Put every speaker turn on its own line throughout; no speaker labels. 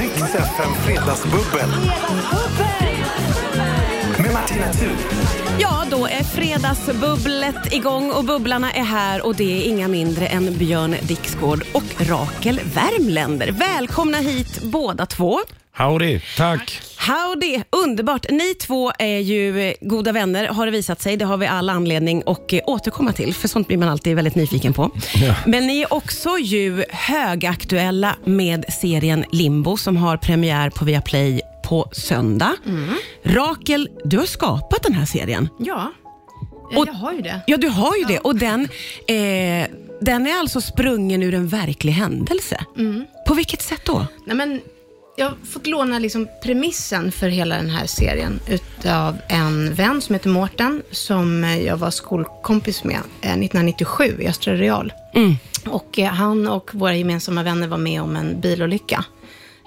Rix FM Fredagsbubbel med Martina Thun.
Ja, då är fredagsbubblet igång och bubblarna är här och det är inga mindre än Björn Dixgård och Rakel Värmländer. Välkomna hit båda två.
Howdy, tack.
Howdy, underbart. Ni två är ju eh, goda vänner har det visat sig. Det har vi all anledning att eh, återkomma till, för sånt blir man alltid väldigt nyfiken på.
Ja.
Men ni är också ju högaktuella med serien Limbo som har premiär på Viaplay på söndag. Rakel, du har skapat den här serien.
Ja, eh,
Och-
jag har ju det.
Ja, du har ju det. Och den, eh, den är alltså sprungen ur en verklig händelse. På vilket sätt då?
Nej, men jag har fått låna liksom premissen för hela den här serien utav en vän som heter Mårten, som eh, jag var skolkompis med eh, 1997 i Östra Real. Och eh, han och våra gemensamma vänner var med om en bilolycka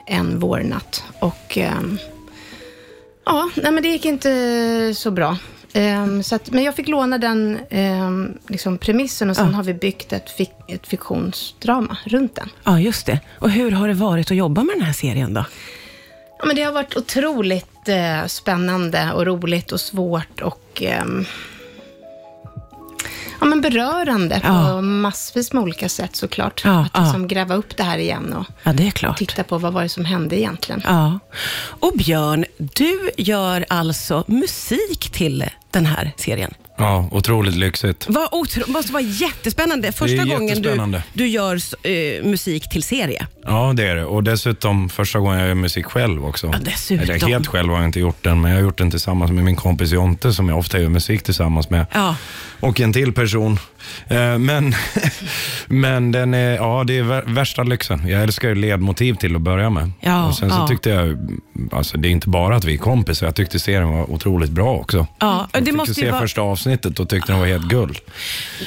en vårnatt. Och ehm, ja, nej, men det gick inte så bra. Ehm, så att, men jag fick låna den ehm, liksom premissen och sen har vi byggt ett, fik- ett fiktionsdrama runt den.
Ja, just det. Och hur har det varit att jobba med den här serien då?
Ja, men det har varit otroligt eh, spännande och roligt och svårt och ehm, ja, men berörande
Ja.
på massvis med olika sätt såklart.
Ja,
att
ja.
liksom gräva upp det här igen och
Ja, det är klart.
titta på vad var det som hände egentligen.
Ja. Och Björn, du gör alltså musik till den här serien.
Ja, otroligt lyxigt.
Vad otro- måste vara jättespännande. Första gången du,
jättespännande.
du gör s- eh, musik till serie.
Ja, det är det. Och dessutom första gången jag gör musik själv också.
Ja, dessutom.
Eller helt själv har jag inte gjort den, men jag har gjort den tillsammans med min kompis Jonte som jag ofta gör musik tillsammans med.
Ja.
Och en till person. Eh, Men, men den är, ja, det är vär- värsta lyxen. Jag älskar ju ledmotiv till att börja med.
Ja,
och sen så
ja.
tyckte jag, alltså det är inte bara att vi är kompisar, jag tyckte serien var otroligt bra också.
Ja,
Jag
det
fick
måste
ju
ju
se
vara-
första avsnittet och tyckte den var helt guld.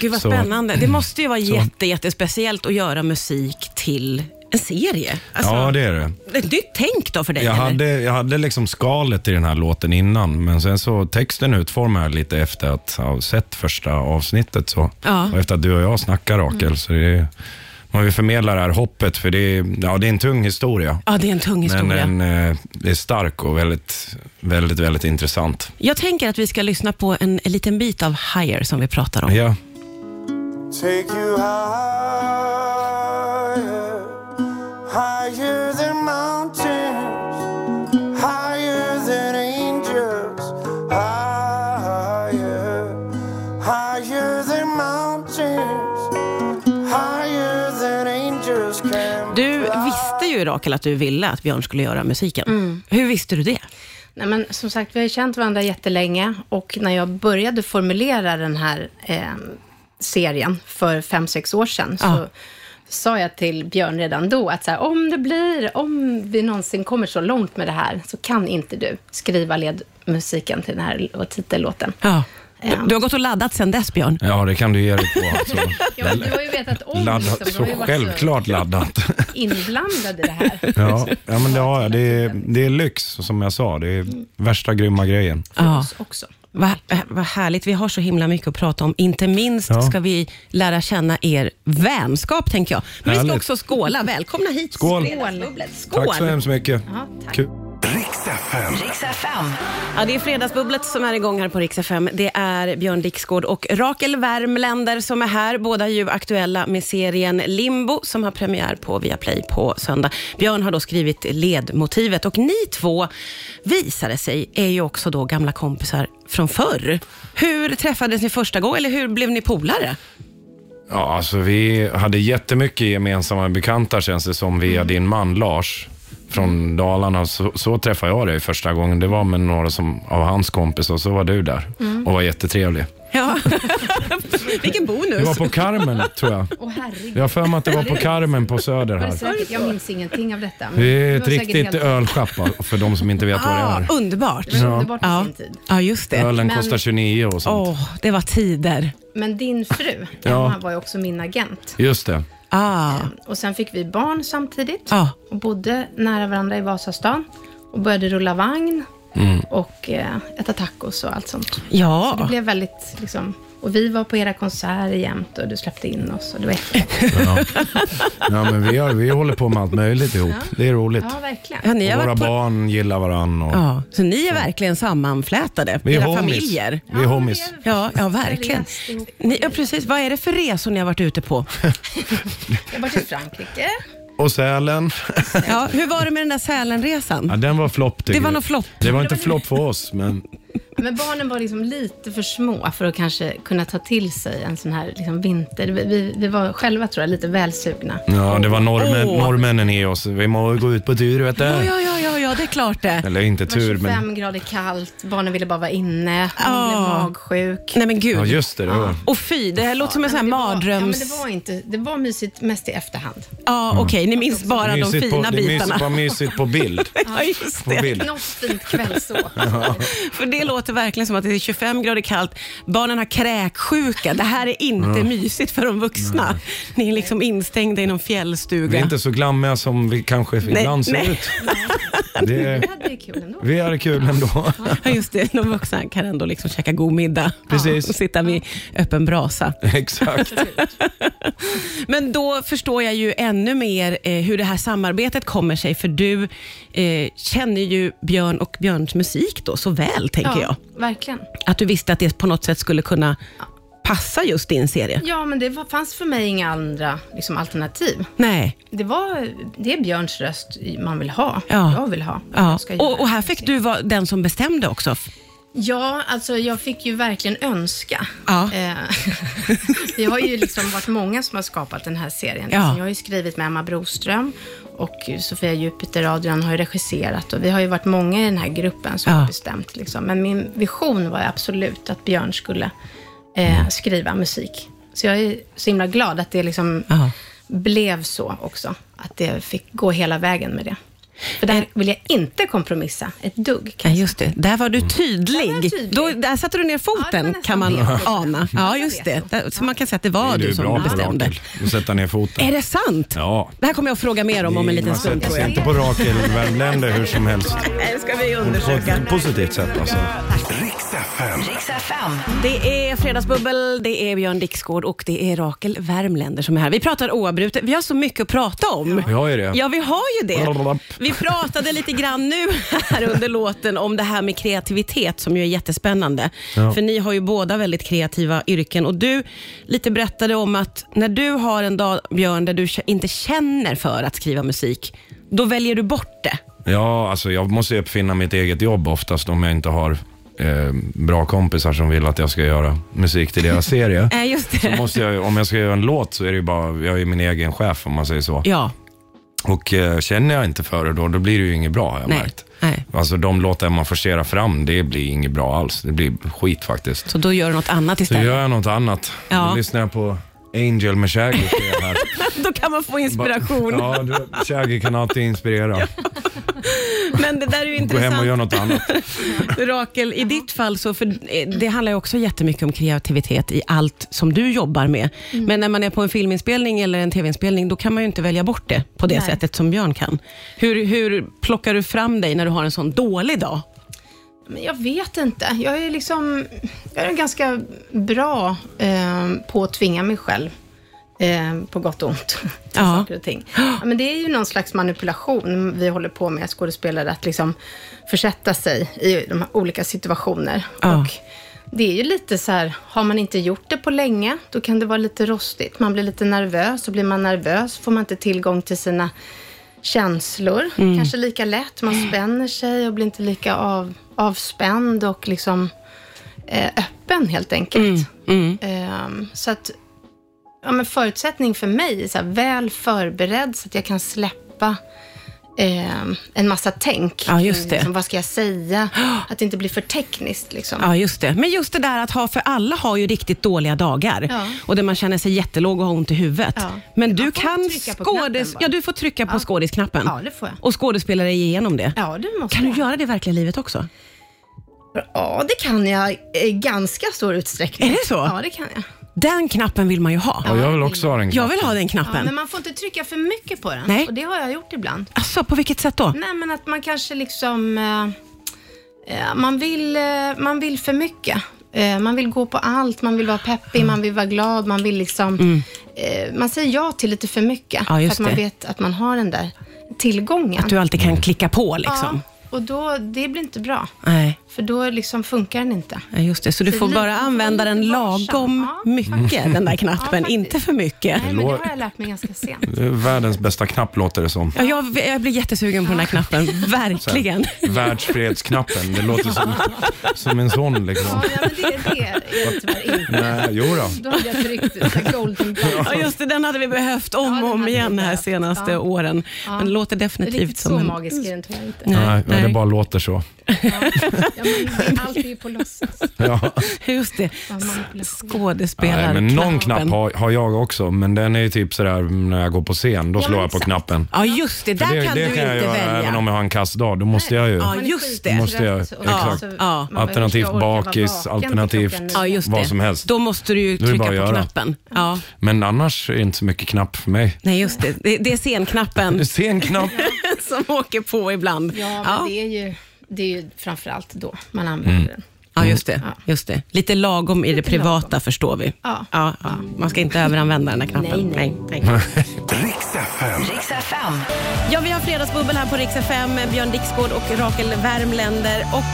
Gud vad
Så-
spännande. Det måste ju vara
Så.
jätte, jättespeciellt att göra musik till en serie. Alltså,
Ja, det är det.
Ett nytt tänk då för dig?
Jag
eller?
hade, jag hade liksom skalet i den här låten innan, men sen så texten utformade jag lite efter att ha sett första avsnittet. Så.
Ja.
Och efter att du och jag snackar, Rakel.
Mm.
Så det är, man vill förmedla det här hoppet, för det är, ja, det är en tung historia.
Ja, det är en tung
Men
historia.
en, eh, det är stark och väldigt, väldigt, väldigt intressant.
Jag tänker att vi ska lyssna på en, en liten bit av Higher som vi pratar om.
Ja.
Take you higher, higher than mountains, higher than angels, higher, higher than mountains, higher than angels can.
Du visste ju Rakel att du ville att Björn skulle göra musiken. Hur visste du det?
Nej, men som sagt, vi har ju känt varandra jättelänge och när jag började formulera den här eh, serien för fem sex år sedan
Ja.
så sa jag till Björn redan då att så här, om det blir, om vi någonsin kommer så långt med det här så kan inte du skriva ledmusiken till den här l- titellåten.
Ja.
Ja.
Du har gått och laddat sen dess Björn.
ja, det kan du ge dig på. Alltså.
Ja, men du har ju vetat om
Laddat,
liksom,
så
du har ju varit så
självklart laddat.
inblandad i det här.
Ja, ja men det har jag. Det är, det är lyx, som jag sa. Det är
Mm.
värsta grymma grejen.
För
Ja.
oss också.
Vad eh, vad härligt, vi har så himla mycket att prata om. Inte minst
Ja.
ska vi lära känna er vänskap, tänker jag. Men vi ska
Härligt.
också skåla. Välkomna hit.
Skål.
Fredagsbubblet.
Tack så
Skål.
hemskt mycket.
Ja, tack.
Kul.
Rix FM.
Ja, det är Fredagsbubblet som är igång här på Rix FM. Det är Björn Dixgård och Rakel Värmländer som är här. Båda är ju aktuella med serien Limbo som har premiär på Viaplay på söndag. Björn har då skrivit ledmotivet och ni två, visade sig, är ju också då gamla kompisar från förr. Hur träffades ni första gången eller hur blev ni polare?
Ja, alltså vi hade jättemycket gemensamma bekanta känns det som
Mm.
via din man Lars från Dalarna. Så, så träffade jag dig första gången. Det var med några som, av hans kompisar och så var du där
Mm.
och var jättetrevlig.
Ja. Vilken
Det
bonus.
var på Carmen tror jag.
Åh herregud.
Jag har för mig att det var på Carmen på Söder
Var det
här.
säkert? Jag minns ingenting av detta. men
Det är
det
ett
var säkert
riktigt
helt-
ölschapp va, för de som inte vet vad det
Ah,
är.
underbart.
Det var underbart på
Ja.
sin tid.
ja, just det.
Ölen
Men-
kostar 29 och sånt.
Åh, det var tider.
Men din fru,
Ja.
Emma, var ju också min agent.
Just det.
Ah.
Och sen fick vi barn samtidigt
Ja.
och bodde nära varandra i Vasastan och började rulla vagn och eh, äta tacos och allt sånt.
Mm. Ja.
Det blev väldigt liksom, Och vi var på era konserter jämt och du släppte in oss och det var jättebra.
Ja, men vi, har, vi håller på med allt möjligt ihop. Det är roligt.
Ja, verkligen.
Ja, ni har
Och våra
varit på...
barn gillar varandra. Och...
Ja, så ni är verkligen sammanflätade,
Vi är
era
homies.
familjer.
Vi är homies.
Ja, ja verkligen. Ni, ja, precis. Vad är det för resor ni har varit ute på?
Jag var till Frankrike.
Och Sälen.
Ja, hur var det med den där
Ja,
Sälenresan?
den var flopp. tycker
Det var
jag.
nog flopp.
Det var inte flopp för oss, men
Men barnen var liksom lite för små för att kanske kunna ta till sig en sån här liksom vinter. Vi, vi, vi var själva, tror jag, lite välsugna.
ja, det var normen,
Åh.
norrmännen i oss. Vi må gå ut på tur, vet
Ja,
du.
ja, ja, ja, ja, det är klart det.
Eller inte
Det var
tur,
25
men...
grader kallt, barnen ville bara vara inne, man blev
Ja.
magsjuk.
Nej men
Ja,
gud.
just det. det var.
Och fy, det här låter som en sån här
Men det var- Ja, men
mardröms...
det var inte, det var mysigt mest i efterhand.
Ja, okej, ni minns bara de
Mysigt på,
fina
det är mysigt, bara
bitarna.
mysigt på bild.
Ja, just
På
det.
bild.
Något fint kvällså.
För det låter verkligen som att det är 25 grader kallt, barnen har kräksjuka. Det här är inte mysigt för de vuxna. Ni är liksom instängda i någon
Vi är
fjällstuga.
inte så glammiga som vi kanske ibland ser
nej.
ut. Det
Vi
är,
hade det kul ändå.
vi är kul ändå.
Ja, just det. De vuxna kan ändå liksom käka god middag
Precis.
och sitta vid öppen brasa.
Exakt.
Men då förstår jag ju ännu mer eh, hur det här samarbetet kommer sig, för du eh, känner ju Björn och Björns musik då så väl, tänker jag.
verkligen.
Att du visste att det på något sätt skulle kunna passa just din serie.
Ja, men det var, fanns för mig inga andra liksom, alternativ.
Nej.
Det, var, det är Björns röst man vill ha.
Ja.
Jag vill ha.
Ja.
Jag ska göra
Och, och här fick
musik.
du vara den som bestämde också.
Ja, alltså jag fick ju verkligen önska.
Ja.
Eh, Vi har ju liksom varit många som har skapat den här serien.
Ja.
Alltså, jag har ju skrivit med Emma Broström och Sofia Jupiter Adrian har ju regisserat och vi har ju varit många i den här gruppen som
Ja.
har bestämt. Liksom. Men min vision var ju absolut att Björn skulle eh, skriva musik. Så jag är så himla glad att det liksom
Ja.
blev så också. Att det fick gå hela vägen med det. För
Eh.
där vill jag inte kompromissa ett dugg.
Ja, just det. Där var
Mm.
du
Där var
tydlig.
jag tydlig.
Då, där satte du ner
Ja, det var
foten,
nästan
kan man
det.
ana. Ja, just det.
Ja.
Där- Så man kan säga att det var
Du
du
är
som
bra på
bestämde.
Rakel. Du sätta ner
Är
foten.
det sant?
Ja.
Det här kommer jag att fråga mer om om en liten
Man
stund.
sätter
tror
sig
jag.
inte på Rakel Värmländer hur som helst.
Det ska vi
På
undersöka.
ett positivt sätt alltså.
Riks FM.
Det är Fredagsbubbel, det är Björn Dixgård och det är Rakel Värmländer som är här. Vi pratar oavbrutet. Vi har så mycket att prata om.
Vi har ju det.
Ja, vi har ju det.
Blablabla.
Vi pratade lite grann nu här under låten om det här med kreativitet som ju är jättespännande.
Ja.
För ni har ju båda väldigt kreativa yrken och du lite berättade om att när du har en dag, Björn, där du k- inte känner för att skriva musik, då väljer du bort det.
Ja, alltså jag måste ju uppfinna mitt eget jobb oftast om jag inte har eh, bra kompisar som vill att jag ska göra musik till deras serie.
Nej, Äh, just
Så
det.
måste jag, om jag ska göra en låt så är det ju bara, jag är min egen chef om man säger så.
Ja,
Och eh, känner jag inte för det då, då blir det ju inget bra har jag
nej.
märkt.
nej.
Alltså de låtar man forcerar fram, det blir inget bra alls. Det blir skit faktiskt.
Så då gör du något annat
Så
istället.
gör jag något annat.
Ja.
Då lyssnar jag på Angel med Shaggy. ser jag här.
Då kan man få inspiration.
Ja, du, Shaggy kan alltid inspirera.
Men det där är ju
Gå hem och gör
intressant.
något annat.
Rakel, i ditt fall så, för eh, det handlar ju också jättemycket om kreativitet i allt som du jobbar med.
Mm.
Men när man är på en filminspelning eller en tv-inspelning, då kan man ju inte välja bort det på det
Nej.
sättet som Björn kan. Hur, hur plockar du fram dig när du har en sån dålig dag?
Men jag vet inte. Jag är liksom jag är ganska bra eh, på att tvinga mig själv. Eh, på gott och ont. till
Ja.
Saker och ting. Ja, men det är ju någon slags manipulation vi håller på med, skådespelare, att liksom försätta sig i de här olika situationer.
Ja.
Och det är ju lite så här, har man inte gjort det på länge, då kan det vara lite rostigt. Man blir lite nervös, och blir man nervös får man inte tillgång till sina känslor. Kanske lika lätt, man spänner sig och blir inte lika av, avspänd och liksom eh, öppen helt enkelt. Ehm, så att ja, men förutsättning för mig är så här, väl förberedd så att jag kan släppa ehm, en massa tänk.
Ja, just det.
Liksom, vad ska jag säga? Att det inte blir för tekniskt. Liksom.
Ja, just det. Men just det där att ha, för alla har ju riktigt dåliga dagar
Ja.
och där man känner sig jättelåg och har ont i huvudet.
Ja.
Men du
Man får
kan
trycka på knappen
skådis...
bara.
Ja, du får trycka på
Ja.
skådisknappen.
Ja, det får jag.
Och skådespelare är igenom det.
Ja, det måste
Kan du
jag.
göra det i verkliga livet också?
Ja, det kan jag i ganska stor utsträckning.
Är det så?
Ja, det kan jag.
Den knappen vill man ju ha.
Ja, jag vill också ha den
Jag vill ha den
Ja,
knappen.
men man får inte trycka för mycket på den.
Nej.
Och det har jag gjort ibland.
Alltså, på vilket sätt då?
Nej, men att man kanske liksom... Eh, eh, man, vill, eh, man vill för mycket. Eh, Man vill gå på allt, man vill vara peppig, man vill vara glad, man vill liksom... eh, Man säger ja till lite för mycket,
Mm. Ja,
för
just
att man
det.
vet att man har den där tillgången.
Att du alltid
Mm.
kan klicka på liksom.
Ja, och då, det blir inte bra,
Nej,
för då liksom funkar den inte.
ja, just det. Så du
Så
får
lite
bara använda den
varsam.
lagom
Ja,
mycket, den där knappen.
faktiskt.
inte för mycket.
Nej, men det har jag lärt mig ganska sent.
Det är Världens bästa knapp låter det som.
Ja, jag, jag blir jättesugen på den här knappen, verkligen.
Världsfredsknappen, det låter som, som en sån liksom.
Ja, ja, men det, det är jag tyvärr inte.
Nej, jo då.
Då hade jag tryckt så golden button.
Ja, just det, den hade vi behövt
Ja,
om
den
och om
hade vi
igen här
behövt.
senaste
Ja.
åren.
Ja.
Men det låter definitivt
Riktigt
som
så
en...
magisk är den tyvärr inte.
Nej, nej, det bara låter så.
Ja, men allt är ju på låtsas.
Ja.
Just det,
Vad manipulation.
Nej,
skådespelarknappen.
men någon knapp har, har jag också, men den är ju typ sådär när jag går på scen, då
Ja,
slår
men
jag på
exakt.
knappen.
Ja, just det,
För
där
det
kan
det
du
kan jag
inte
göra även om
välja.
jag har en kass dag, då måste jag ju.
Ja,
Man är
just det.
skittrött
Måste jag-
och-
exakt.
så man
Ja.
behöver
Alternativt
orka vara
bakis,
vaken till
alternativt-
klockan nio.
Ja, just
Vad
det.
som helst.
Då måste du ju
Då är
trycka
det bara
på
att göra.
knappen. Ja.
Men annars är det inte så mycket knapp för mig.
Nej, just det. Det, det är scenknappen
Sen knapp.
som åker på ibland.
Ja, men
ja.
Det, är ju, det är ju framförallt då man
Mm.
använder den.
Ja, just det, just det. Lite lagom i det privata förstår vi.
Ja.
Ja, ja. Man ska inte överanvända den här knappen. Nej, nej.
Riks FM.
Riks FM.
Ja, vi har fredagsbubbel här på Rix FM, Björn Dixgård och Rakel Värmländer. Och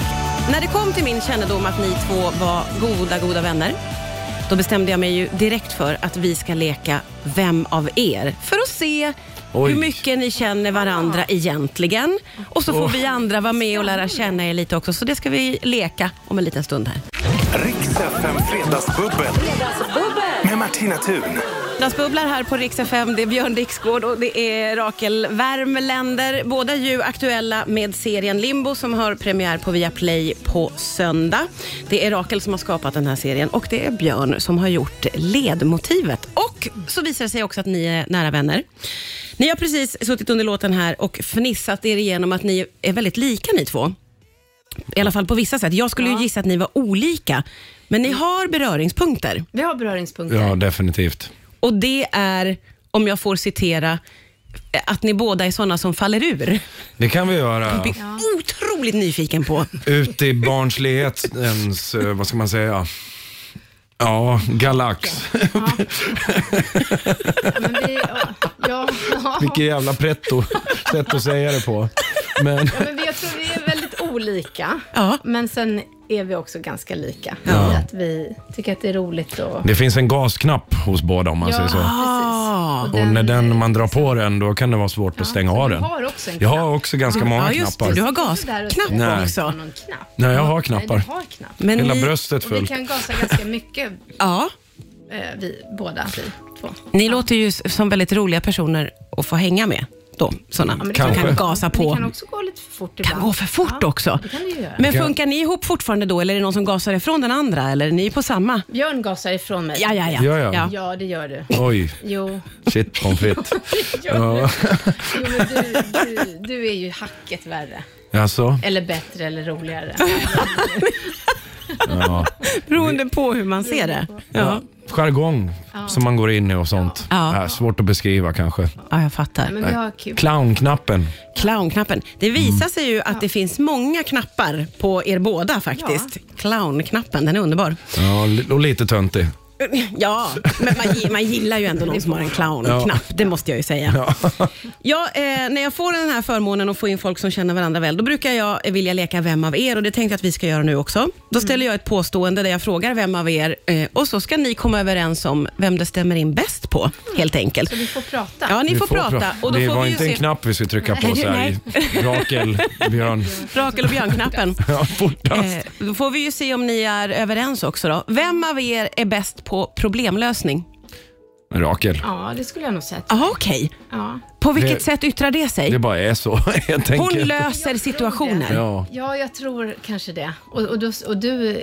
när det kom till min kännedom att ni två var goda, goda vänner, då bestämde jag mig ju direkt för att vi ska leka Vem av er? För att se
Oj.
hur mycket ni känner varandra egentligen. Och så får vi andra vara med och lära känna er lite också. Så det ska vi leka om en liten stund här.
Riks FM Fredagsbubbel. Med Martina Thun.
Fredagsbubblar här på Rix FM. Det är Björn Dixgård och det är Rakel Värmländer. Båda ju aktuella med serien Limbo som har premiär på Viaplay på söndag. Det är Rakel som har skapat den här serien och det är Björn som har gjort ledmotivet. Och så visar det sig också att ni är nära vänner. Ni har precis suttit under låten här och fnissat er igenom att ni är väldigt lika ni två. I alla fall på vissa sätt. Jag skulle ju gissa att ni var olika, men ni har beröringspunkter.
Vi har beröringspunkter.
Ja, definitivt.
Och det är, om jag får citera, att ni båda är såna som faller ur.
Det kan vi göra.
Jag är otroligt nyfiken på.
Ut i barnslighetens, eh, vad ska man säga? Ja, galax.
Men vi, ja, ja, ja.
Vilket jävla pretto sätt att säga det på. Men,
Ja, men vi- jag tror vi är väldigt olika,
Ja.
men sen är vi också ganska lika. I att vi tycker att det är roligt och...
det finns en gasknapp hos båda om man säger så.
Ah.
precis.
Och när den, man drar på den, då kan det vara svårt att stänga
så
av
du
den.
har också en
Jag
knapp.
har också ganska många
Ja, just det.
knappar.
Du har
Där och
gasknapp
säger,
Nej.
också.
Någon knapp.
Nej, jag har
Nej,
knappar.
du har knapp.
Men
Hela
ni,
bröstet
Och vi
fullt.
kan gasa ganska mycket,
ja,
eh, vi båda. Vi två.
ni låter ju s- som väldigt roliga personer att få hänga med. Då, såna
Ja, men det
som
Kanske.
kan gasa på.
Men det kan också gå lite för fort ibland.
kan gå för fort
Ja,
också.
Det kan det ju göra.
Men funkar ni ihop fortfarande då eller är det någon som gasar ifrån den andra? Eller är ni på samma?
Björn gasar ifrån mig.
Ja, ja, ja.
Ja, ja.
Ja, det gör du.
Oj,
Jo,
shit pommes frites.
ja. jo men du, du, du är ju hacket värre.
Alltså,
Eller bättre eller roligare.
ja.
Beroende på hur man ser det. Ja,
Jargong som man går in i och sånt.
Ja.
Äh, svårt att beskriva kanske.
ja jag fattar.
Men vi har kul.
Clownknappen.
Clownknappen. Det visar sig ju att det finns många knappar på er båda faktiskt. Clownknappen, den är underbar.
Ja, li- och lite töntig.
Ja, men man, gi- man gillar ju ändå någon som har en clownknapp, det måste jag ju säga. Ja. eh, när jag får den här förmånen att få in folk som känner varandra väl, då brukar jag eh, vilja leka vem av er och det tänkte jag att vi ska göra nu också. Då ställer jag ett påstående där jag frågar vem av er eh, och så ska ni komma överens om vem det stämmer in bäst på, helt enkelt.
Vi får prata.
Ja, ni får, prata. Och då
det
får
var
vi ju
inte
se
en knapp vi skulle trycka på
Nej,
så här. i- Rakel, Björn.
Rakel och Björn-knappen.
Ja, fortast.
Eh, då får vi ju se om ni är överens också. Då. Vem av er är bäst på problemlösning? Eh.
Rakel.
Ja, det skulle jag nog säga. att-
Jaha, okej.
Ja.
På vilket
Det-
sätt yttrar det sig?
Det bara är så helt
Hon
enkelt.
löser situationer.
Ja.
ja, jag tror kanske det. Och, och, då, och du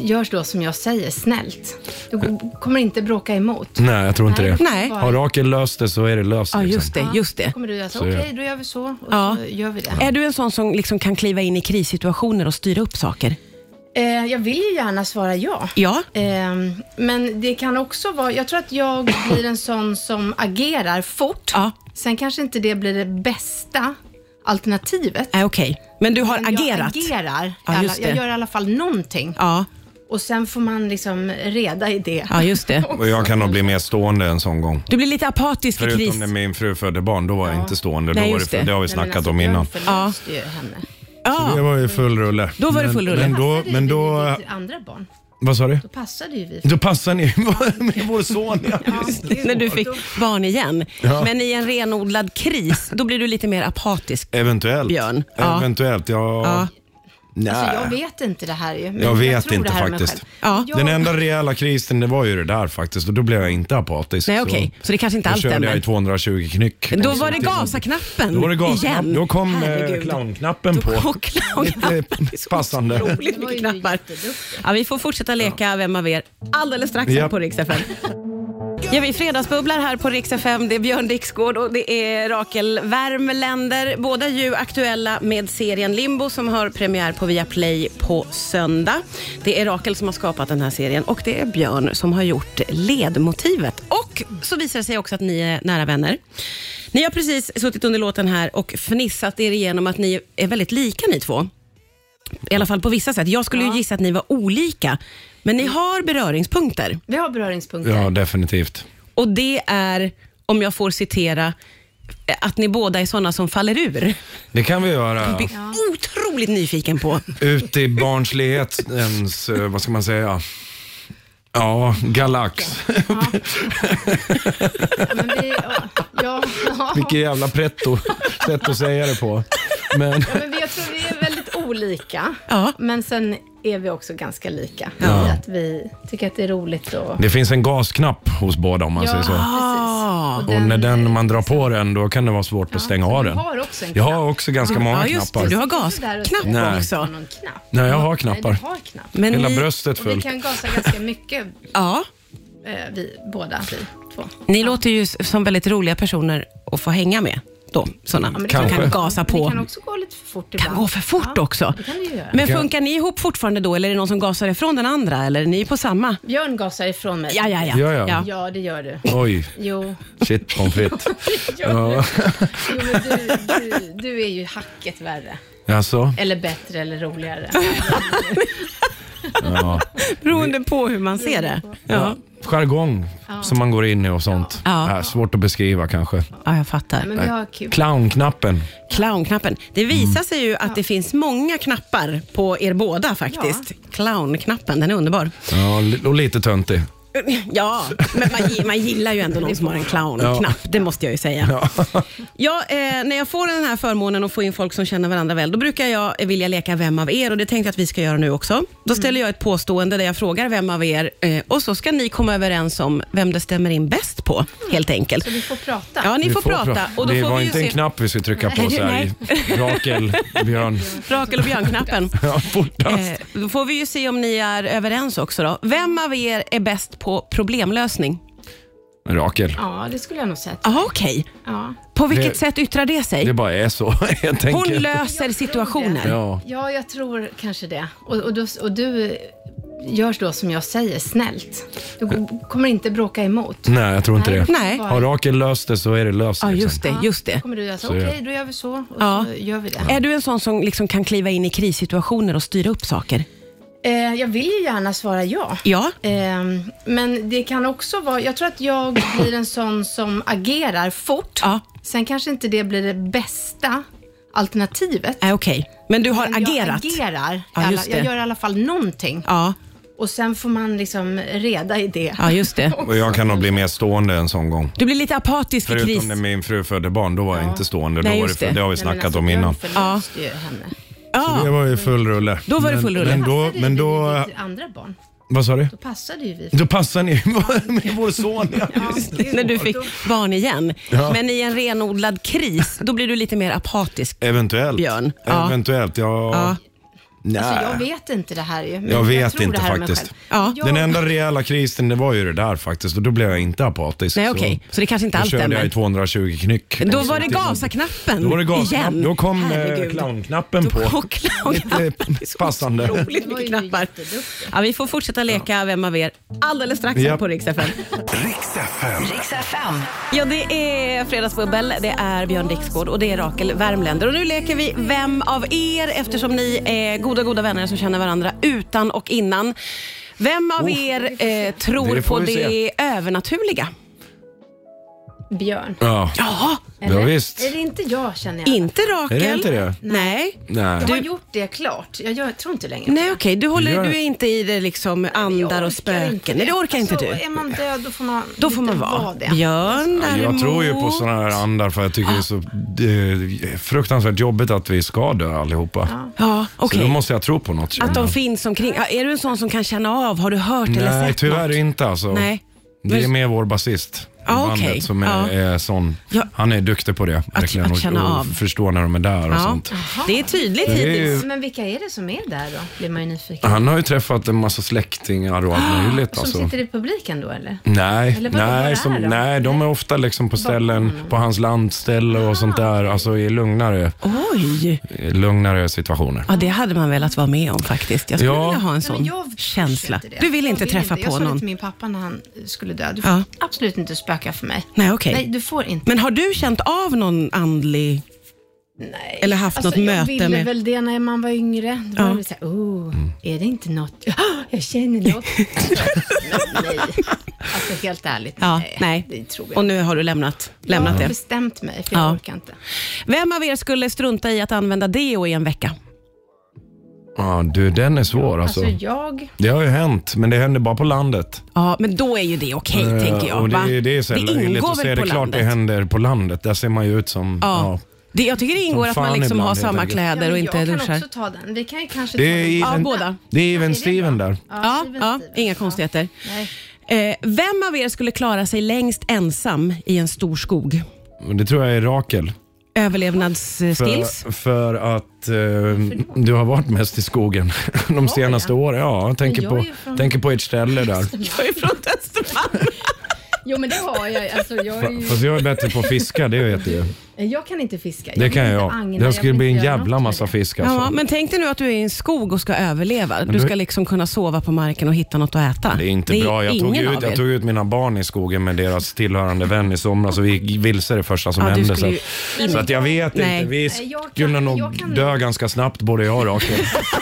gör då som jag säger, snällt. Du g- kommer inte bråka emot.
Nej, jag tror Mm, inte det.
Nej.
Har Rakel löst det så är det löst.
Ja,
liksom.
just det. Just det.
Då kommer du att säga,
Så är
okej,
det.
då gör vi så och
Ja.
så gör vi det.
Är du en sån som liksom kan kliva in i krissituationer och styra upp saker?
Eh, jag vill ju gärna svara ja.
Ja.
Ehm, men det kan också vara, jag tror att jag blir en sån som agerar fort.
Ja.
Sen kanske inte det blir det bästa alternativet.
Äh, okej. Men du har
Men
agerat?
Jag agerar.
Ja,
Alla-
just det.
jag gör i alla fall någonting.
Ja.
Och sen får man liksom reda i det.
Ja, just det.
Och jag kan nog bli mer stående en sån gång.
Du blir lite apatisk i kris.
Förutom när min fru födde barn, då var jag inte stående.
Nej,
då var
just
det,
det.
det har vi
Nej, men
snackat
alltså,
om innan.
Jag
Ja.
förlöste ju henne.
Det
Ja,
var ju full rulle.
Då var det full
Men-
rulle.
Men då, men då
Passade ju vi till andra barn.
vad sa du?
Då passade ju vi.
Då passar ni med vår son. Ja.
Just det.
när du fick
Då-
barn igen. Men i en renodlad kris, då blir du lite mer apatisk.
Eventuellt.
Björn. Ja.
Eventuellt, ja.
Ja.
Nej.
Alltså, jag vet inte det här ju. men
Jag vet
tror det
inte
här om mig
faktiskt.
själv.
Ja.
Jag-
Den enda rejäla krisen det var ju det där faktiskt och då blev jag inte apatisk.
Nej, okej. Så det kanske inte
då
allt
körde
stämmer.
jag i 220 knyck.
Då var det
Samtidigt.
gasaknappen
Då Alltså, var det gasknapp.
igen.
Då kom eh,
Herregud.
clownknappen
Då
på.
kom clownknappen.
Lite eh,
Det är så
passande.
Otroligt mycket
Det var ju
knappar.
jätteduktigt.
Ja, vi får fortsätta leka Vem av er alldeles strax här
Japp.
på Rix FM. Ja, vi fredagsbubblar här på Rix FM. Det är Björn Dixgård och det är Rakel Värmländer. Båda ju aktuella med serien Limbo som har premiär på Viaplay på söndag. Det är Rakel som har skapat den här serien och det är Björn som har gjort ledmotivet. Och så visar det sig också att ni är nära vänner. Ni har precis suttit under låten här och fnissat er igenom att ni är väldigt lika ni två. I alla fall på vissa sätt. Jag skulle ju gissa att ni var olika, men ni har beröringspunkter.
Vi har beröringspunkter.
Ja, definitivt.
Och det är, om jag får citera, eh, att ni båda är sådana som faller ur.
Det kan vi göra.
Det är otroligt nyfiken på.
Ut i barnslighetens, eh, vad ska man säga? Ja, galax.
Men vi, ja, ja, ja.
Vilket jävla pretto sätt att säga det på. Men,
Ja, men vi, jag tror vi är väldigt olika,
Ja.
men sen är vi också ganska lika.
Ja.
I att vi tycker att det är roligt och...
det finns en gasknapp hos båda om man säger så.
Ah.
precis.
Och när den, man drar på den, då kan det vara svårt att stänga
så
av
du
den.
har också en
jag
knapp.
har också ganska många
Ja, just det.
knappar.
Du har
Där och så-
gasknapp
Nej.
också.
Någon knapp.
Nej, jag har
Nej,
knappar.
du har knapp.
Men
Hela
ni,
bröstet
Och vi
fullt.
kan gasa ganska mycket,
ja,
eh, vi båda. Vi två.
ni låter ju s- som väldigt roliga personer att få hänga med. Då, sådana
men det
som
kan-
kan gasa på.
Men det kan också gå lite för fort ibland.
kan gå för fort
Ja,
också.
Det kan det ju göra.
Men
kan-
funkar ni ihop fortfarande då, eller är det någon som gasar ifrån den andra? Eller är ni på samma?
Björn gasar ifrån mig.
Ja, ja, ja.
Ja, ja.
Ja, det gör du.
Oj,
Jo,
shit pommes frites.
ja. jo men du, du, du är ju hacket värre.
Alltså,
Eller bättre eller roligare.
ja.
Beroende på hur man ser det. Ja,
Jargong som man går in i och sånt.
Ja.
Äh, svårt att beskriva kanske.
ja jag fattar.
Men vi har kul.
Clownknappen.
Clownknappen. Det
Mm.
visar sig ju att det finns många knappar på er båda faktiskt. Clownknappen, den är underbar.
Ja, li- och lite töntig.
Ja, men man, gi- man gillar ju ändå någon som har en clownknapp. Det måste jag ju säga. Ja. eh, när jag får den här förmånen att få in folk som känner varandra väl, då brukar jag eh, vilja leka Vem av er? Och det tänkte jag att vi ska göra nu också. Då
Mm.
ställer jag ett påstående där jag frågar vem av er eh, och så ska ni komma överens om vem det stämmer in bäst på, helt enkelt.
Så
Mm.
vi får prata.
Ja, ni får, prata. Och då
det
får
var
vi ju
inte
se
en knapp vi skulle trycka på så här. Rakel, Björn.
Rakel och Björn-knappen.
Ja, fortast.
Eh, då får vi ju se om ni är överens också. Då. Vem av er är bäst på problemlösning? Eh.
Rakel.
Ja, det skulle jag nog säga. att-
Jaha, okej.
Ja.
På vilket
Det-
sätt yttrar det sig?
Det bara är så helt
Hon
enkelt.
löser situationer.
Ja.
ja, jag tror kanske det. Och, och, då, och du gör då som jag säger, snällt. Du g- kommer inte bråka emot.
Mm. Nej, jag tror inte det.
Nej.
Har Rakel löst det så är det löst.
Ja,
liksom.
just det. Just det.
Då kommer du att säga,
Så
okej,
gör-
då gör vi så. Och
Ja.
så gör vi det.
Är du en sån som liksom kan kliva in i krissituationer och styra upp saker?
Eh, jag vill ju gärna svara ja.
Ja.
Ehm, men det kan också vara, jag tror att jag blir en sån som agerar fort.
Ja.
Sen kanske inte det blir det bästa alternativet.
Äh, Okej, men du har
Men
agerat?
Jag agerar. i
Ja,
alla-
just det.
jag gör i alla fall någonting.
Ja.
Och sen får man liksom reda i det.
ja, just det.
Och jag kan nog bli mer stående en sån gång.
Du blir lite apatisk i kris.
Förutom när min fru födde barn, då var jag inte stående.
Nej,
då var
just
det,
det.
det har vi
Nej, men
snackat
alltså,
om
Björn
innan.
förlöste ju henne.
Det
Ja.
var ju full rulle.
Då var det full rulle.
Men, men då, men då,
Passade ju vi till andra barn.
vad sa du?
Då passade ju vi.
Då passar ni med vår son. Ja.
När du fick barn igen. Men i en renodlad kris, då blir du lite mer apatisk.
Eventuellt.
Björn. Ja.
Eventuellt, ja.
Ja.
Nej.
Alltså, jag vet inte det här ju. men
Jag vet
tror
inte
det här om mig
faktiskt.
själv.
Ja.
Jag-
Den enda rejäla krisen det var ju det där faktiskt och då blev jag inte apatisk.
Nej, okej. Så det kanske inte allt
Då körde
stämmer.
jag i 220 knyck.
Då var det gasaknappen
Då var det gasknapp.
igen.
Då kom eh,
Herregud.
clownknappen på.
Och clownknappen.
Lite passande.
Otroligt mycket
Det var ju
knappar.
jätteduktigt.
Ja, vi får fortsätta leka Vem av er alldeles strax här
Japp.
på Rix FM.
Riks FM.
Ja, det är Fredagsbubbel, det är Björn Dixgård och det är Rakel Värmländer. Och nu leker vi Vem av er? Eftersom ni är goda, goda vänner som känner varandra utan och innan. Vem av er eh, tror
Oh. Det får
på
vi se.
det övernaturliga?
Björn.
Ja,
Ja,
ja visst.
Är det inte jag känner jag?
inte Rakel.
Är det inte det?
Nej.
Nej.
Jag har gjort det klart. Jag, gör- tror inte längre.
Nej, okej. Du, håller,
Gör-
du är inte i det liksom
Jag
andar
orkar
och
inte
spöken. Nej, det orkar inte
alltså,
du.
Är man död då får man,
Då får
inte
man vara.
det.
Björn däremot.
Jag tror ju på sådana här andar för jag tycker det är så eh, fruktansvärt jobbigt att vi ska dö allihopa.
Ja, okej.
Så då måste jag tro på något.
Att de
känner jag.
finns omkring. Ja, är du en sån som kan känna av? Har du hört eller
Nej,
sett
tyvärr
något?
inte alltså.
Nej.
Det är med vår basist i
Ja,
bandet
okej.
som är,
Ja.
är sån.
Ja.
Han är duktig på det. Verkligen.
att känna
och,
av.
och förstå när de är där och
Ja.
sånt.
Det är tydligt
Det är ju-
hittills.
Men vilka är det som är där då? Blir man ju nyfiken.
Han har ju träffat en massa släktingar och
Ah,
allt möjligt.
Som
Alltså.
sitter i publiken då eller?
Nej,
Eller vad- vad är
nej, som,
de?
nej, de är ofta liksom på ställen,
Mm.
på hans landställe och sånt
Ah.
där. Alltså i lugnare,
Oj!
lugnare situationer.
Ah.
Ja, det hade man velat vara med om faktiskt. Jag skulle
Ja.
vilja ha en
Nej,
sån
men jag
känsla.
inte det.
Du vill
Jag
inte träffa
Jag
på
sa det
någon?
till min pappa när han skulle dö. Du får
Ja.
absolut inte spöka för mig.
Nej, okej.
Nej, du får inte.
Men har du känt av någon andlig...
Nej.
Eller haft något
Alltså, Jag
möte
ville
med-
väl det när man var yngre. Då
Ja.
var det så här, oh, är det inte något? Ah, jag känner något. Men nej. Alltså helt ärligt,
Ja,
nej.
nej.
Det tror jag
Och nu har du lämnat,
jag
lämnat
har
det.
bestämt mig, för jag
Ja.
orkar inte.
Vem av er skulle strunta i att använda deo i en vecka?
Ja, du, den är svår alltså.
Alltså jag,
Det har ju hänt, men det händer bara på landet. Eh,
Ja, men då är ju det okej, tänker jag.
och
va?
det, det är så
Det
löjligt
ingår
att se.
väl
Det
på
är klart
landet?
det händer på landet. Där ser man ju ut som...
Ja.
Ah.
Ja.
Det, jag tycker det ingår
Som
att man
fan
liksom
ibland,
har
helt
samma
enkelt.
ja,
kläder
men
och
jag
inte
kan
duschar.
också ta den. Vi kan ju kanske
Det
ta
är
den.
Ja,
even,
båda.
det är even
det är
Steven där.
Ja,
Steven
ja,
Steven.
inga konstigheter.
Nej.
Eh, vem av er skulle klara sig längst ensam i en stor skog?
Och Det tror jag är Rakel.
Överlevnadsskills?
För, för att eh, du har varit mest i skogen de senaste åren. Ja, jag tänker,
jag är
på,
ju från-
tänker på ert ställe där.
Jag är från Östermalm.
Jo men det har jag. Alltså, jag, är ju,
Fast jag är bättre på att fiska, det vet du ju.
jag kan inte fiska.
Det
vill
kan
inte
jag.
agna,
Det skulle
vill
bli en
inte göra något
jävla
med
massa
det.
fisk
Ja,
alltså.
men tänk dig nu att du är i en skog och ska överleva. Du
du-
ska liksom kunna sova på marken och hitta något att äta.
Det är inte bra. Jag tog,
ingen
ut,
av
jag
er.
tog ut mina barn i skogen med deras tillhörande vän i somras och vi gick vilse det första som
Ja, du
hände. Så,
skulle ju-
så att jag vet
Nej.
inte. Vi
Nej, jag kan-
skulle nog
jag kan-
dö ganska snabbt både jag och Rakel.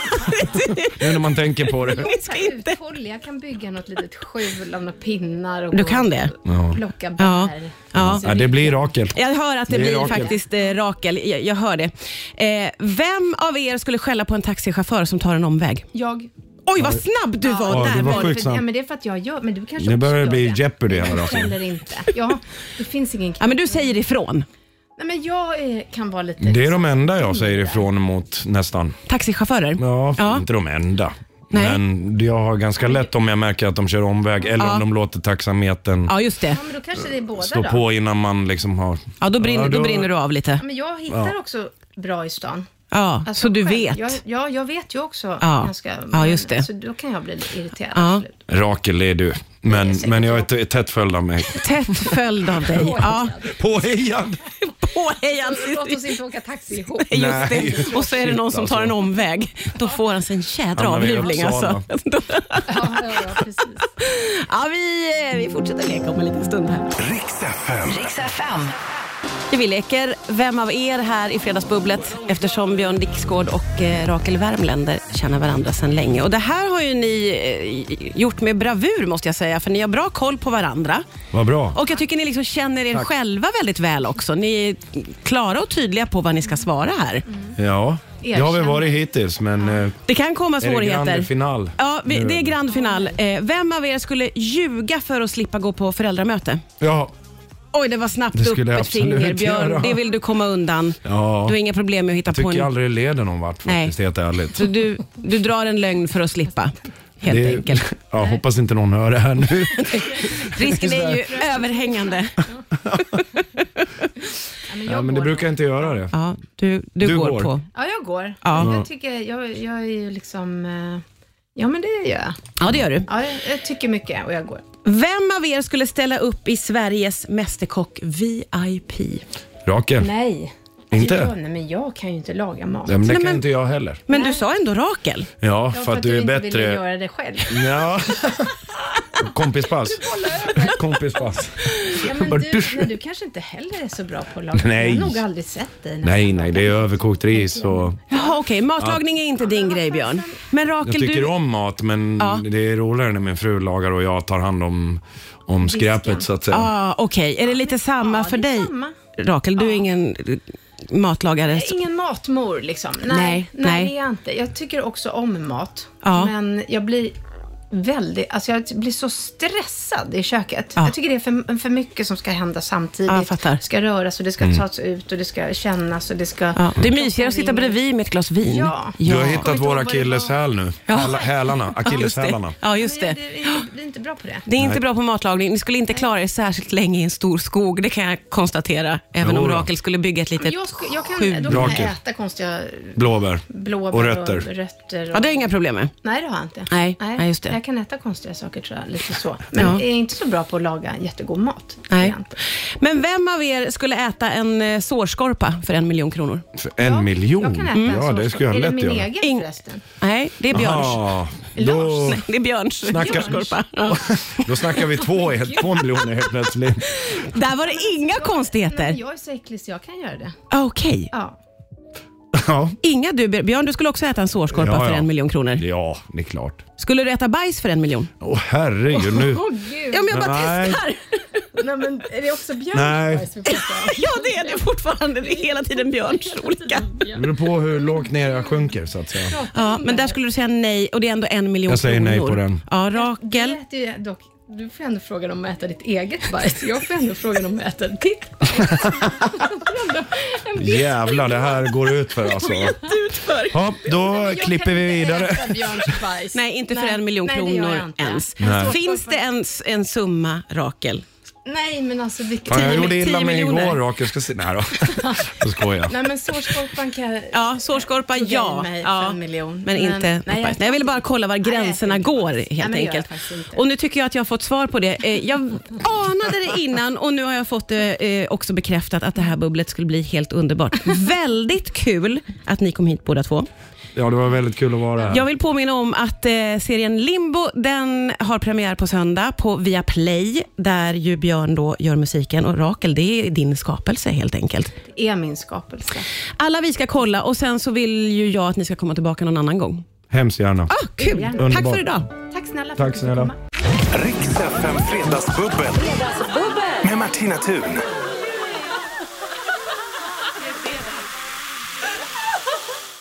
nu när man tänker på det.
Vi ska
Jag är
inte.
uthållig. Jag kan bygga något litet skjul av några pinnar och
Du
gå
kan det?
och plocka bär.
Ja. Ja.
Ja, det blir Rakel.
Jag hör att det,
Det är
blir
Rakel.
faktiskt eh, Rakel. Jag, jag hör det. Eh, vem av er skulle skälla på en taxichaufför som tar en omväg?
Jag.
Oj, vad snabb du var
Ja,
där.
det var
Var-
sjukt
För,
snabb.
ja, men det är för att jag gör, men du kanske
Nu
också
börjar det
gör
bli Jeopardy här,
Jag
alltså.
Eller inte. Ja, det finns ingen
Ja,
knapp.
men du säger ifrån.
Nej, men jag är, kan vara lite...
Det är de enda jag säger ifrån mot nästan.
Taxichaufförer?
Ja,
Ja.
inte de enda.
Nej.
Men jag har ganska lätt om jag märker att de kör omväg eller om de låter taxametern
Ja, just det.
Ja, men då kanske det är båda
stå
då.
på innan man liksom har...
Ja, då, brinner, då brinner du av lite.
Ja, men jag hittar också bra i stan.
Ja,
Alltså,
så du
själv.
vet.
Jag, ja, jag vet ju också
Ja.
ganska...
Ja, just det.
Så då kan jag bli lite irriterad.
Ja.
absolut.
Rakel, det är du. Men, men jag är t- tätt följd av mig.
Tätt följd av dig. Ja.
alltså.
Påhejad!
Påhejad
Låt oss inte åka taxi ihop.
Just
Nej,
det.
just
Och så är det någon som tar en omväg. Då får han sig en jädra
Hamnar vi i
avhyvling. Alltså.
Uppsala.
Ja, ja, ja, precis.
Ja, vi, eh, vi fortsätter leka om en liten stund här.
Riks FM.
Riks FM.
Vi leker Vem av er här i Fredagsbubblet eftersom Björn Dixgård och eh, Rakel Värmländer känner varandra sedan länge. Och Det här har ju ni eh, gjort med bravur måste jag säga för ni har bra koll på varandra.
Vad bra.
Och jag tycker ni liksom känner er själva väldigt väl också. Ni är klara och tydliga på vad ni ska svara här.
Ja, det har vi varit hittills, men eh,
Det kan komma
det
svårigheter.
grand final?
Ja, vi,
Nu?
det är grand final. Eh, vem av er skulle ljuga för att slippa gå på föräldramöte?
ja.
Oj, det var snabbt
Det
upp
skulle jag
ett finger.
absolut göra.
Björn, det vill du komma undan.
Ja.
Du har inga problem med att hitta
Jag
på en...
tycker aldrig det leder någon vart
Nej.
faktiskt, helt ärligt.
Så du, du drar en lögn för att slippa, helt
Det-
enkelt.
Ja, hoppas inte någon hör det här nu.
Risken är ju överhängande.
Ja, men jag
Ja, men det
går.
brukar inte göra det.
Ja, du, du,
Du
går,
går.
på.
Ja, jag går.
Ja.
Jag, tycker, jag, jag är ju liksom... eh, Ja, men det gör jag.
Ja, det gör du.
Ja, jag, jag tycker mycket och jag går.
Vem av er skulle ställa upp i Sveriges Mästerkock VIP?
Rakel,
Nej. Ja,
Inte?
nej, men jag kan ju inte laga mat.
Ja, men det
Nej,
kan
men-
inte jag heller.
Men du sa ändå Rakel.
Ja,
Ja,
för att du är
inte ville
bättre.
göra det själv.
Ja. Kompispass. Kompispass.
Ja, men
Bara
du,
dusch.
nej, du kanske inte heller är så bra på att laga.
Nej.
Jag har nog aldrig sett dig. när-
Nej, nej, det är överkokt ris och...
Jaha, okej. Matlagning är inte din grej, Björn. Men
Jag
Rakel,
tycker
du...
om mat, men
Ja.
det är roligare när min fru lagar och jag tar hand om, om skräpet så att säga.
Ah, okej. Är det lite samma
Ja,
för
det är
dig?
samma.
Rakel, du är ingen eh, matlagare.
Jag är Ingen matmor liksom. Nej,
Nej,
nej,
nej.
det är jag inte. Jag tycker också om mat.
Ja.
Men jag blir väldigt, alltså jag blir så stressad i köket.
Ja.
Jag tycker det är för, för mycket som ska hända samtidigt.
Ja, jag fattar. Mm.
Det ska röras och det ska tas ut och det ska kännas och det ska...
Ja. Det är mysigare att sitta bredvid med ett glas vin.
Ja.
Du har
Ja,
hittat
inte ihåg
våra
vad det var.
akilleshäl nu. Häla- Hälarna,
just
akilleshälarna.
det. Ja, just
Men jag,
det.
det, jag blir inte bra på det.
Det är inte bra på matlagning. Ni skulle inte klara er särskilt länge i en stor skog, det kan jag konstatera. Även
Jo
om
då.
Rakel skulle bygga ett litet
Jag, sku- jag
skjul.
kan, då kan jag
Rakel.
äta konstiga
Blåbär.
blåbär
Och rötter.
Och rötter och,
Ja, det är inga problem med.
Nej, det har jag inte.
Nej, nej, just det.
Jag kan äta konstiga saker tror jag, lite så. Men
Ja.
jag är inte så bra på att laga jättegod mat.
Nej.
egentligen.
Men vem av er skulle äta en eh, sårskorpa för en miljon kronor?
För en miljon? Mm.
Jag kan äta en
Oh. ja,
sån
det
sak.
skulle jag
Är
lätt
det min
göra.
egen
Ing-
förresten?
Nej, det är Björns.
Jaha, då,
Nej, det är Björns
Snacka-
sårskorpa. Ja.
då snackar vi två, två miljoner helt plötsligt.
Där var det inga
Nej,
konstigheter.
jag är så äcklig så jag kan göra det.
Ah, Okej.
Ja.
Ja.
Inga du, Björn, du skulle också äta en sårskorpa
Ja, ja.
för en miljon kronor.
ja, det är klart.
Skulle du äta bajs för en miljon?
Åh herregud, nu...
Åh gud.
Ja, men jag bara
Nej.
testar.
Nej, men är det också Björns
Nej.
bajs vi pratar om?
Ja, det är det fortfarande. Det är hela tiden Björns olika.
Det beror på hur lågt ner jag sjunker så att säga.
Ja, men där skulle du säga nej och det är ändå en miljon
Jag säger
kronor.
nej på den.
Ja,
Du
Rakel.
äter ju dock, du får ändå frågan om att äta ditt eget bajs. Jag får ändå frågan om att äta ditt bajs. Det är ändå en viss-
Jävlar, det här går ut för alltså.
Utför.
Ja, då
Jag kan
klipper vi
inte
vidare.
äta Björns bajs.
Nej, inte för
Nej,
en miljon
nej, det gör jag
kronor
inte.
ens.
Nej.
Finns det en, en summa, Rakel?
Nej, men alltså vilket...
Fan, jag gjorde illa
10
mig
miljoner.
igår Rakel. Ska se... Nej då. Jag skojar.
Nej, men sårskorpan kan jag...
Ja, sårskorpa,
Tog jag
ja.
in mig för
ja.
en miljon.
Men
Men-
inte
nej,
något
jag
bajs. Nej, jag ville bara kolla var
jag
gränserna
äter inte
går
bajs.
helt
Nej, men det gör jag
enkelt.
faktiskt inte.
Och nu tycker jag att jag har fått svar på det. Eh, Jag anade det innan och nu har jag fått det eh, också bekräftat att det här bubblet skulle bli helt underbart. Väldigt kul att ni kom hit båda två.
Ja, det var väldigt kul att vara här.
Jag vill påminna om att eh, serien Limbo den har premiär på söndag på Viaplay där ju Björn då gör musiken och Rakel, det är din skapelse helt enkelt.
är min skapelse.
Alla vi ska kolla och sen så vill ju jag att ni ska komma tillbaka någon annan gång.
Hemskt gärna.
Ah, kul! Tack
Underbart.
för idag.
Tack snälla
Tack
att du fick
snälla.
komma.
Riks FM Fredagsbubbel. Med Martina Thun.